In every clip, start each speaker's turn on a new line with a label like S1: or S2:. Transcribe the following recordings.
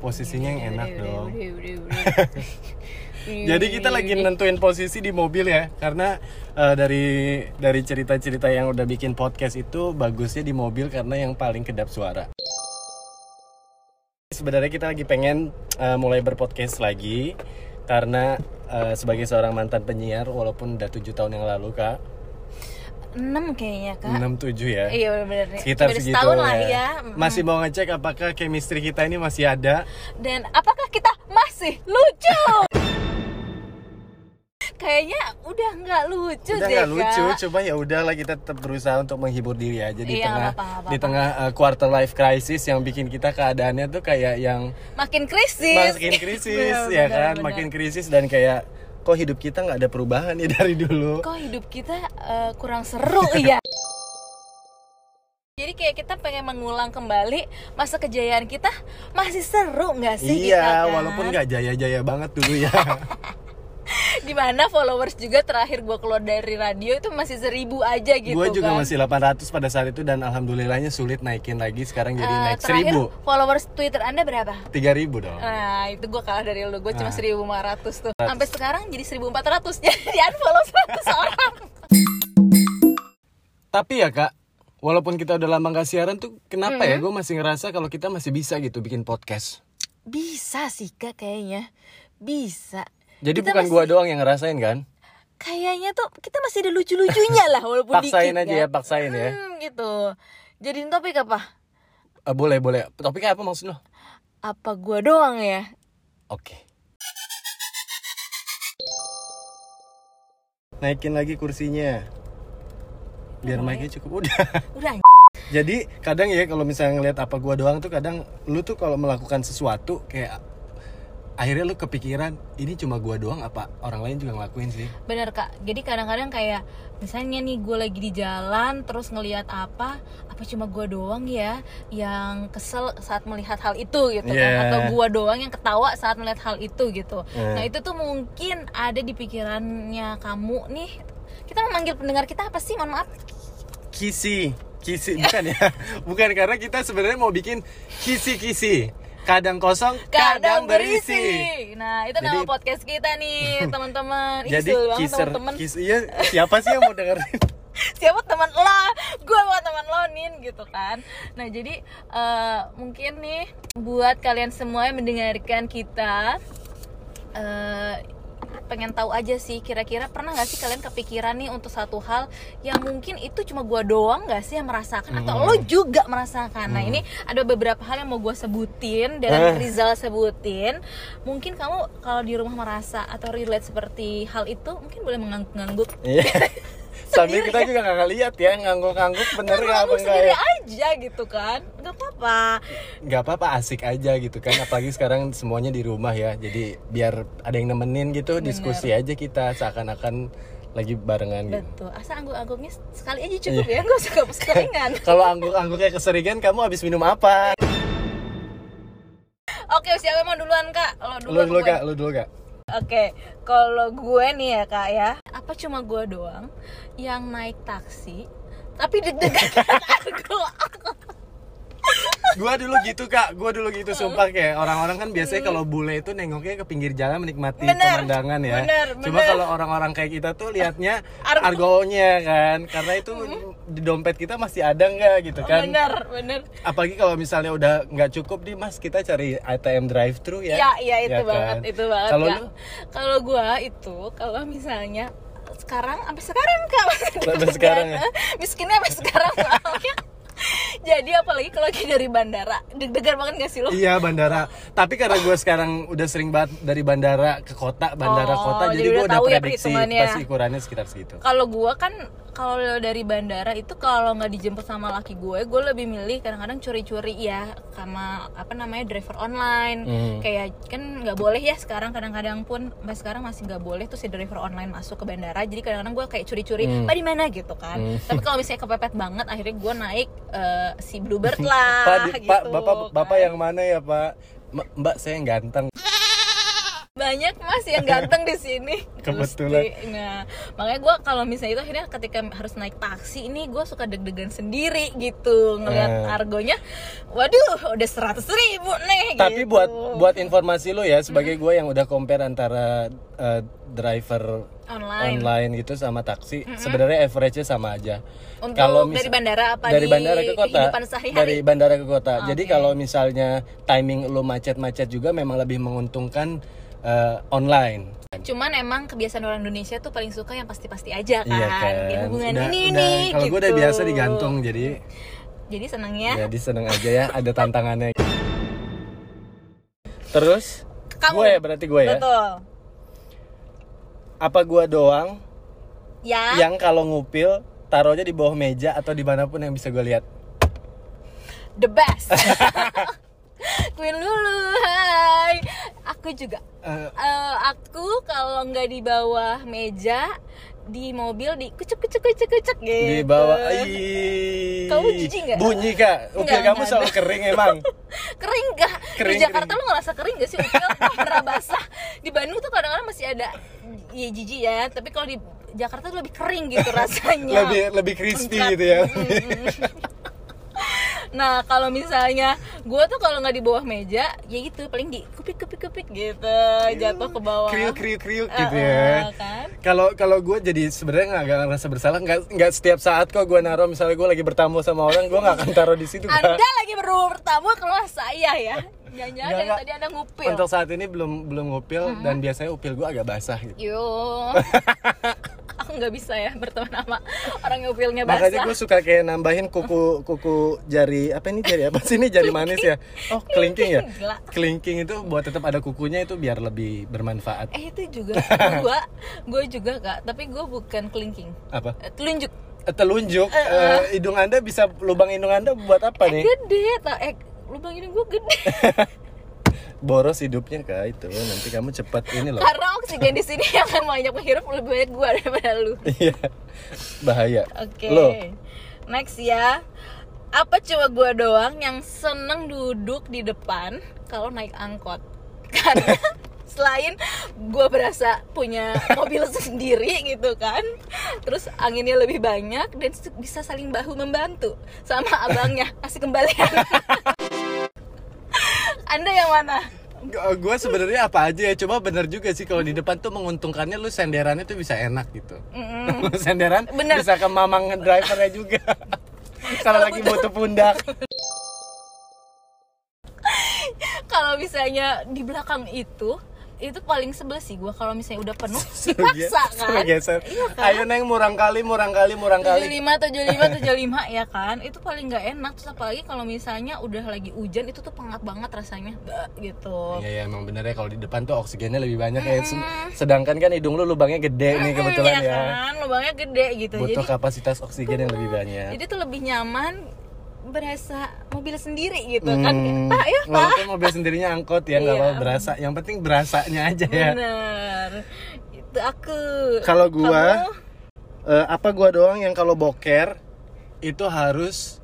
S1: posisinya yang enak
S2: Udah, udah,
S1: dong.
S2: udah, udah, udah. Udah,
S1: Jadi
S2: udah,
S1: kita
S2: udah,
S1: lagi
S2: udah.
S1: nentuin posisi di mobil ya, karena eh, dari dari cerita-cerita yang udah bikin podcast itu bagusnya di mobil karena yang paling kedap suara. Sebenarnya kita lagi pengen eh, mulai berpodcast lagi karena eh, sebagai seorang mantan penyiar walaupun udah tujuh tahun yang lalu kak,
S2: enam kayaknya kak.
S1: 67 ya.
S2: Iya benar-benar.
S1: Sekitar
S2: Udah
S1: segitu
S2: setahun lah ya. Mm.
S1: Masih mau ngecek apakah chemistry kita ini masih ada
S2: Dan apakah kita masih lucu? Kayaknya udah nggak lucu
S1: udah
S2: deh
S1: nggak lucu
S2: kak.
S1: coba ya udahlah kita tetap berusaha untuk menghibur diri aja di
S2: Iya,
S1: tengah
S2: nggak apa-apa, nggak
S1: di tengah uh, quarter life crisis yang bikin kita keadaannya tuh kayak yang
S2: Makin krisis.
S1: makin krisis
S2: Benar,
S1: ya
S2: benar,
S1: kan
S2: benar.
S1: makin krisis dan kayak kok hidup kita nggak ada perubahan ya dari dulu
S2: kok hidup kita eh, kurang seru ya jadi kayak kita pengen mengulang kembali masa kejayaan kita masih seru nggak sih kita,
S1: iya
S2: kan?
S1: walaupun nggak jaya-jaya banget dulu ya
S2: dimana followers juga terakhir gue keluar dari radio itu masih seribu aja gitu
S1: gue juga
S2: kan.
S1: masih 800 pada saat itu dan alhamdulillahnya sulit naikin lagi sekarang jadi
S2: Eh,
S1: naik
S2: terakhir
S1: 1000
S2: followers twitter anda berapa
S1: 3000 dong
S2: Nah itu gue kalah dari lu, gue
S1: Nah.
S2: cuma 1500 tuh Sampai sekarang jadi 1400, jadi unfollow 100 orang
S1: Tapi ya kak, walaupun kita udah lama gak siaran tuh kenapa
S2: Mm-hmm.
S1: ya gue masih ngerasa kalau kita masih bisa gitu bikin podcast.
S2: Bisa sih kak kayaknya, bisa
S1: Jadi
S2: Kita
S1: bukan gua doang yang ngerasain kan?
S2: kayaknya tuh kita masih ada lucu-lucunya lah walaupun
S1: Paksain
S2: dikit
S1: aja ya,
S2: kan.
S1: paksain ya.
S2: Hmm, gitu. Jadiin topik apa?
S1: Eh, boleh boleh. Topiknya apa maksud lo?
S2: Apa gua doang ya?
S1: Oke. Naikin lagi kursinya. Biar mic-nya cukup udah.
S2: Udah
S1: Jadi kadang ya kalau misalnya ngeliat apa gua doang tuh kadang lu tuh kalau melakukan sesuatu kayak akhirnya lu kepikiran ini cuma gua doang apa orang lain juga ngelakuin sih?
S2: bener kak jadi kadang-kadang kayak misalnya nih gue lagi di jalan terus ngelihat apa apa cuma gue doang ya yang kesel saat melihat hal itu gitu
S1: Yeah.
S2: kan atau gue doang yang ketawa saat melihat hal itu gitu
S1: Yeah.
S2: nah itu tuh mungkin ada di pikirannya kamu nih kita memanggil pendengar kita apa sih mohon maaf
S1: kisi kisi bukan ya bukan karena kita sebenarnya mau bikin kisi kisi kadang kosong kadang, berisi
S2: Nah, itu
S1: Jadi-
S2: nama podcast kita nih, teman-teman. Ih,
S1: jadi
S2: sebel banget
S1: kiser
S2: teman-teman.
S1: kis- iya siapa sih yang mau dengerin
S2: Siapa teman lo? Gue bukan teman lo, Nin, gitu kan. Nah, jadi eh, mungkin nih buat kalian semua yang mendengarkan kita eh pengen tahu aja sih kira-kira pernah nggak sih kalian kepikiran nih untuk satu hal yang mungkin itu cuma gua doang nggak sih yang merasakan atau lo juga merasakan nah ini ada beberapa hal yang mau gua sebutin dan Rizal sebutin mungkin kamu kalau di rumah merasa atau relate seperti hal itu mungkin boleh mengangguk-ngangguk
S1: Iya. sambil kita juga nggak lihat ya ngangguk-ngangguk bener nggak apa
S2: mengangguk
S1: enggak
S2: Iya. sendiri
S1: ya
S2: aja gitu kan nggak apa-apa
S1: nggak apa-apa asik aja gitu kan apalagi sekarang semuanya di rumah ya jadi biar ada yang nemenin gitu diskusi aja kita seakan-akan lagi barengan gitu
S2: betul asal angguk-angguknya sekali aja cukup ya nggak usah nggak usah keringan
S1: kalau angguk-angguknya keseringan kamu habis minum apa
S2: oke siapa yang mau duluan kak lo dulu
S1: lu dulu kak lu dulu kak
S2: Oke, kalau gue nih ya kak ya Apa cuma gue doang yang naik taksi Tapi deg-degan gue
S1: gua dulu gitu kak gua dulu gitu sumpah kayak orang-orang kan biasanya kalau bule itu nengoknya ke pinggir jalan menikmati
S2: Bener,
S1: pemandangan ya
S2: bener,
S1: cuma
S2: bener.
S1: kalau orang-orang kayak kita tuh liatnya
S2: Argo.
S1: argonya kan karena itu di dompet kita masih ada nggak gitu kan
S2: Bener, bener
S1: apalagi kalau misalnya udah nggak cukup nih mas kita cari ATM drive thru ya
S2: Ya, ya itu
S1: kan?
S2: banget, itu banget
S1: kalau
S2: Kak.
S1: lu
S2: Kalau gue itu, kalau misalnya sekarang, sampai sekarang kak masih deg-degan.
S1: sekarang ya?
S2: Miskinnya sampai sekarang soalnya. Jadi apalagi kalau lagi dari bandara Deg-degan banget gak sih lo?
S1: Iya bandara. Tapi karena gue sekarang udah sering banget dari bandara ke kota, bandara
S2: Oh,
S1: kota, jadi,
S2: jadi
S1: gue
S2: udah
S1: udah
S2: tahu ya
S1: prediksi
S2: perhitungannya.
S1: pasti ukurannya sekitar segitu.
S2: kalau gua kan kalau dari bandara itu kalau nggak dijemput sama laki gue gue lebih milih kadang-kadang curi-curi ya sama apa namanya driver online
S1: Hmm.
S2: kayak kan nggak boleh ya sekarang kadang-kadang pun sampai sekarang masih nggak boleh tuh si driver online masuk ke bandara jadi kadang-kadang gue kayak curi-curi
S1: Hmm.
S2: pak di mana gitu kan tapi kalau misalnya kepepet banget akhirnya gue naik eh, si bluebird lah
S1: Pak, di-
S2: gitu
S1: Pak, bapak, bapak
S2: kan. Gitu.
S1: yang mana ya Pak? M- Mbak saya yang ganteng.
S2: Mbak, banyak mas yang ganteng di sini
S1: Kebetulan.
S2: Gusti. nah makanya gue kalau misalnya itu akhirnya ketika harus naik taksi ini gue suka deg-degan sendiri gitu ngelihat
S1: Eh.
S2: argonya waduh udah seratus ribu nih
S1: Tapi
S2: gitu.
S1: buat buat informasi lo ya
S2: Hmm.
S1: sebagai gue yang udah compare antara eh, driver
S2: online Hmm.
S1: online gitu sama taksi sebenarnya average-nya sama aja.
S2: Untuk
S1: misa-
S2: dari bandara apa
S1: dari
S2: di
S1: bandara ke kota
S2: kehidupan sehari-hari?
S1: dari bandara ke kota. Jadi kalau misalnya timing lo macet-macet juga memang lebih menguntungkan eh, online.
S2: cuman emang kebiasaan orang Indonesia tuh paling suka yang pasti-pasti aja kan,
S1: Iya kan.
S2: Ya, hubungan
S1: Udah-
S2: ini
S1: udah-
S2: nih
S1: Kalau gue udah
S2: gitu.
S1: biasa digantung jadi
S2: jadi senengnya
S1: jadi seneng aja ya ada tantangannya. Terus
S2: Kamu.
S1: gue ya berarti gue ya.
S2: betul
S1: Apa gue doang
S2: ya
S1: yang kalau ngupil taruhnya di bawah meja atau dimanapun yang bisa gue lihat.
S2: the best Queen Lulu hai aku juga
S1: Eh,
S2: Eh, aku kalau nggak di bawah meja di mobil di kucuk kucuk kucuk kucuk gitu
S1: di bawah. Ih.
S2: Kamu jijik nggak?
S1: Bunyi kak. Upil
S2: Nggak,
S1: kamu
S2: nggak
S1: selalu kering emang.
S2: kering gak?
S1: Kering,
S2: di Jakarta
S1: kering.
S2: lo ngerasa kering gak sih upil pernah basah di Bandung tuh kadang-kadang masih ada ya jijik ya tapi kalau di Jakarta tuh lebih kering gitu rasanya
S1: lebih lebih crispy
S2: Mencrat.
S1: gitu ya.
S2: mm. nah kalau misalnya gue tuh kalau nggak di bawah meja ya gitu paling di kupik kupik kupik gitu
S1: Iya.
S2: jatuh ke bawah
S1: kriuk kriuk kriuk
S2: Eh,
S1: gitu
S2: eh,
S1: ya.
S2: kan
S1: Kalau kalau gue jadi sebenarnya nggak nggak ngerasa bersalah nggak nggak setiap saat kok gue naruh misalnya gue lagi bertamu sama orang gue nggak akan taruh di situ Kak.
S2: anda lagi bertamu ke rumah saya ya
S1: Nggak,
S2: jangan-jangan dari
S1: nggak.
S2: tadi anda ngupil Mm-hmm.
S1: Untuk saat ini belum belum ngupil dan biasanya upil gue agak basah gitu.
S2: yo aku nggak bisa ya berteman sama orang yang upilnya basah
S1: Makanya gue suka kayak nambahin kuku kuku jari apa ini jari apa sih ini jari manis ya? Oh kelingking ya?
S2: Kelingking, gila.
S1: Kelingking itu buat tetap ada kukunya itu biar lebih bermanfaat
S2: eh itu juga gue gue juga kak tapi gue bukan kelingking
S1: apa?
S2: Eh, telunjuk
S1: Eh, Telunjuk eh, hidung anda bisa lubang hidung anda buat apa nih?
S2: gede tau eh lubang hidung gue gede
S1: boros hidupnya kak itu nanti kamu cepat ini loh
S2: karena oksigen di sini yang akan banyak menghirup lebih banyak gue daripada lu oke
S1: iya bahaya lo
S2: next ya apa cuma gue doang yang seneng duduk di depan kalau naik angkot karena selain gue berasa punya mobil sendiri gitu kan terus anginnya lebih banyak dan bisa saling bahu membantu sama abangnya kasih kembalian anda yang mana
S1: gue sebenarnya apa aja ya cuma bener juga sih kalau di depan tuh menguntungkannya lu senderannya tuh bisa enak gitu
S2: Mm-mm.
S1: Lu senderan
S2: Bener.
S1: bisa ke mamang drivernya juga kalau lagi butuh pundak
S2: kalau misalnya di belakang itu itu paling sebel sih gue kalau misalnya udah penuh
S1: Suruh
S2: dipaksa
S1: ge-
S2: kan
S1: suruh geser ayo neng murang kali murang kali murang
S2: tujuh
S1: kali
S2: lima tujuh lima tujuh lima ya kan itu paling nggak enak terus apalagi kalau misalnya udah lagi hujan itu tuh pengap banget rasanya Bah, gitu
S1: Iya ya emang bener ya kalau di depan tuh oksigennya lebih banyak ya sedangkan kan hidung lu lubangnya gede nih kebetulan
S2: Iya
S1: ya
S2: kan lubangnya gede gitu
S1: butuh
S2: jadi
S1: kapasitas oksigen yang lebih banyak
S2: jadi tuh lebih nyaman berasa mobil sendiri gitu kan Kayak,
S1: Hmm,
S2: pak ya pak
S1: walaupun mobil sendirinya angkot ya nggak
S2: Iya.
S1: apa berasa yang penting berasanya aja ya
S2: bener itu aku
S1: kalau gua
S2: Kamu?
S1: eh, apa gua doang yang kalau boker itu harus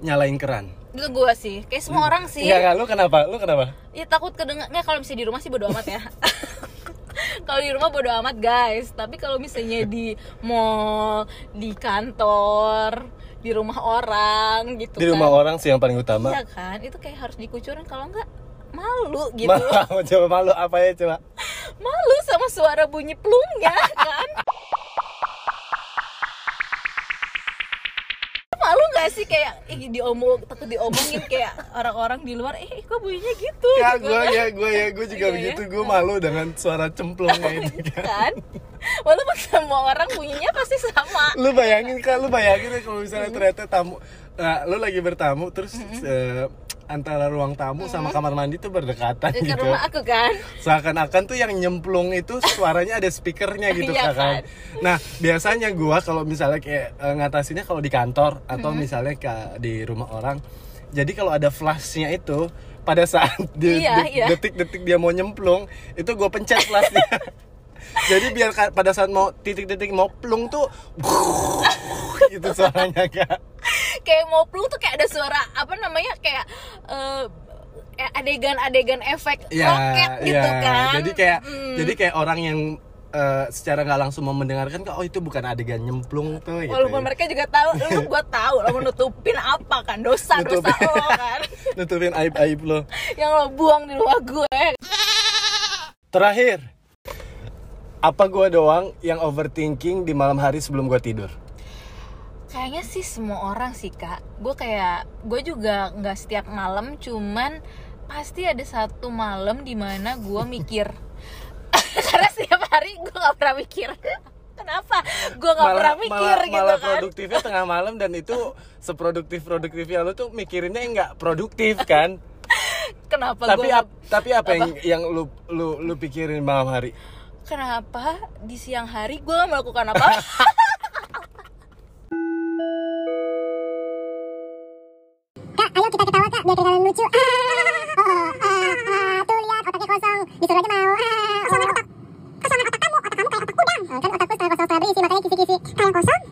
S1: nyalain keran
S2: itu gua sih kayak semua
S1: Hmm.
S2: orang sih
S1: Enggak, enggak, lu kenapa? Lu kenapa?
S2: Ya takut kedengar nggak kalau misalnya di rumah sih bodo amat ya. kalau di rumah bodo amat guys, tapi kalau misalnya di mall, di kantor, di rumah orang gitu
S1: Di rumah orang sih yang paling utama.
S2: Iya kan? Itu kayak harus dikucurin kalau nggak malu gitu. Iya,
S1: Malu, coba malu apa ya coba?
S2: malu sama suara bunyi plungnya kan? malu nggak sih kayak ih, diomong takut diomongin kayak orang-orang di luar eh kok bunyinya gitu
S1: Ya
S2: gitu.
S1: gue ya gue ya gue juga
S2: Iya,
S1: begitu gue malu dengan suara cemplungnya itu.
S2: kan walaupun semua orang bunyinya pasti sama
S1: lu bayangin kan lu bayangin ya kalau misalnya ternyata tamu nah, lu lagi bertamu terus eh, antara ruang tamu sama kamar mandi tuh berdekatan
S2: ke
S1: gitu
S2: rumah aku kan
S1: seakan-akan tuh yang nyemplung itu suaranya ada speakernya gitu
S2: Iya
S1: Kak, kan
S2: kan?
S1: nah biasanya gua kalau misalnya kayak eh, ngatasinnya kalau di kantor atau
S2: Mm-hmm.
S1: misalnya ka- di rumah orang jadi kalau ada flashnya itu pada saat di-
S2: Iya,
S1: di-
S2: iya.
S1: detik-detik dia mau nyemplung itu gue pencet flashnya jadi biar ka- pada saat mau titik-titik mau plung tuh gitu suaranya kak
S2: kayak mau peluk tuh kayak ada suara apa namanya kayak eh, adegan-adegan efek
S1: Ya,
S2: roket gitu
S1: ya.
S2: kan
S1: Jadi kayak
S2: Mm.
S1: jadi kayak orang yang eh, secara nggak langsung mau mendengarkan kok oh itu bukan adegan nyemplung tuh gitu.
S2: walaupun mereka juga tahu lu kan gua tahu lo menutupin apa kan dosa dosa
S1: Nutupin.
S2: lo kan
S1: nutupin aib-aib lo.
S2: yang lo buang di luar gue
S1: Terakhir. Apa gua doang yang overthinking di malam hari sebelum gua tidur?
S2: kayaknya sih semua orang sih kak gue kayak gue juga nggak setiap malam cuman pasti ada satu malam dimana gue mikir karena setiap hari gue nggak pernah mikir kenapa gue nggak pernah mikir
S1: malah,
S2: gitu
S1: malah
S2: kan
S1: produktifnya tengah malam dan itu seproduktif produktifnya lo tuh mikirinnya yang nggak produktif kan
S2: kenapa
S1: tapi
S2: gua-
S1: ap- tapi apa, yang yang lu lu lu pikirin malam hari
S2: kenapa di siang hari gue nggak melakukan apa
S3: Kak, ayo kita ketawa kak, biar kelihatan lucu. Ah, oh, ah, ah, tuh lihat otaknya kosong, disuruh aja mau. Ah, kosongan otak, kosongan otak kamu, otak kamu kayak otak udang. Oh, kan otakku setengah kosong setengah berisi, makanya kisi-kisi. Kayak kosong,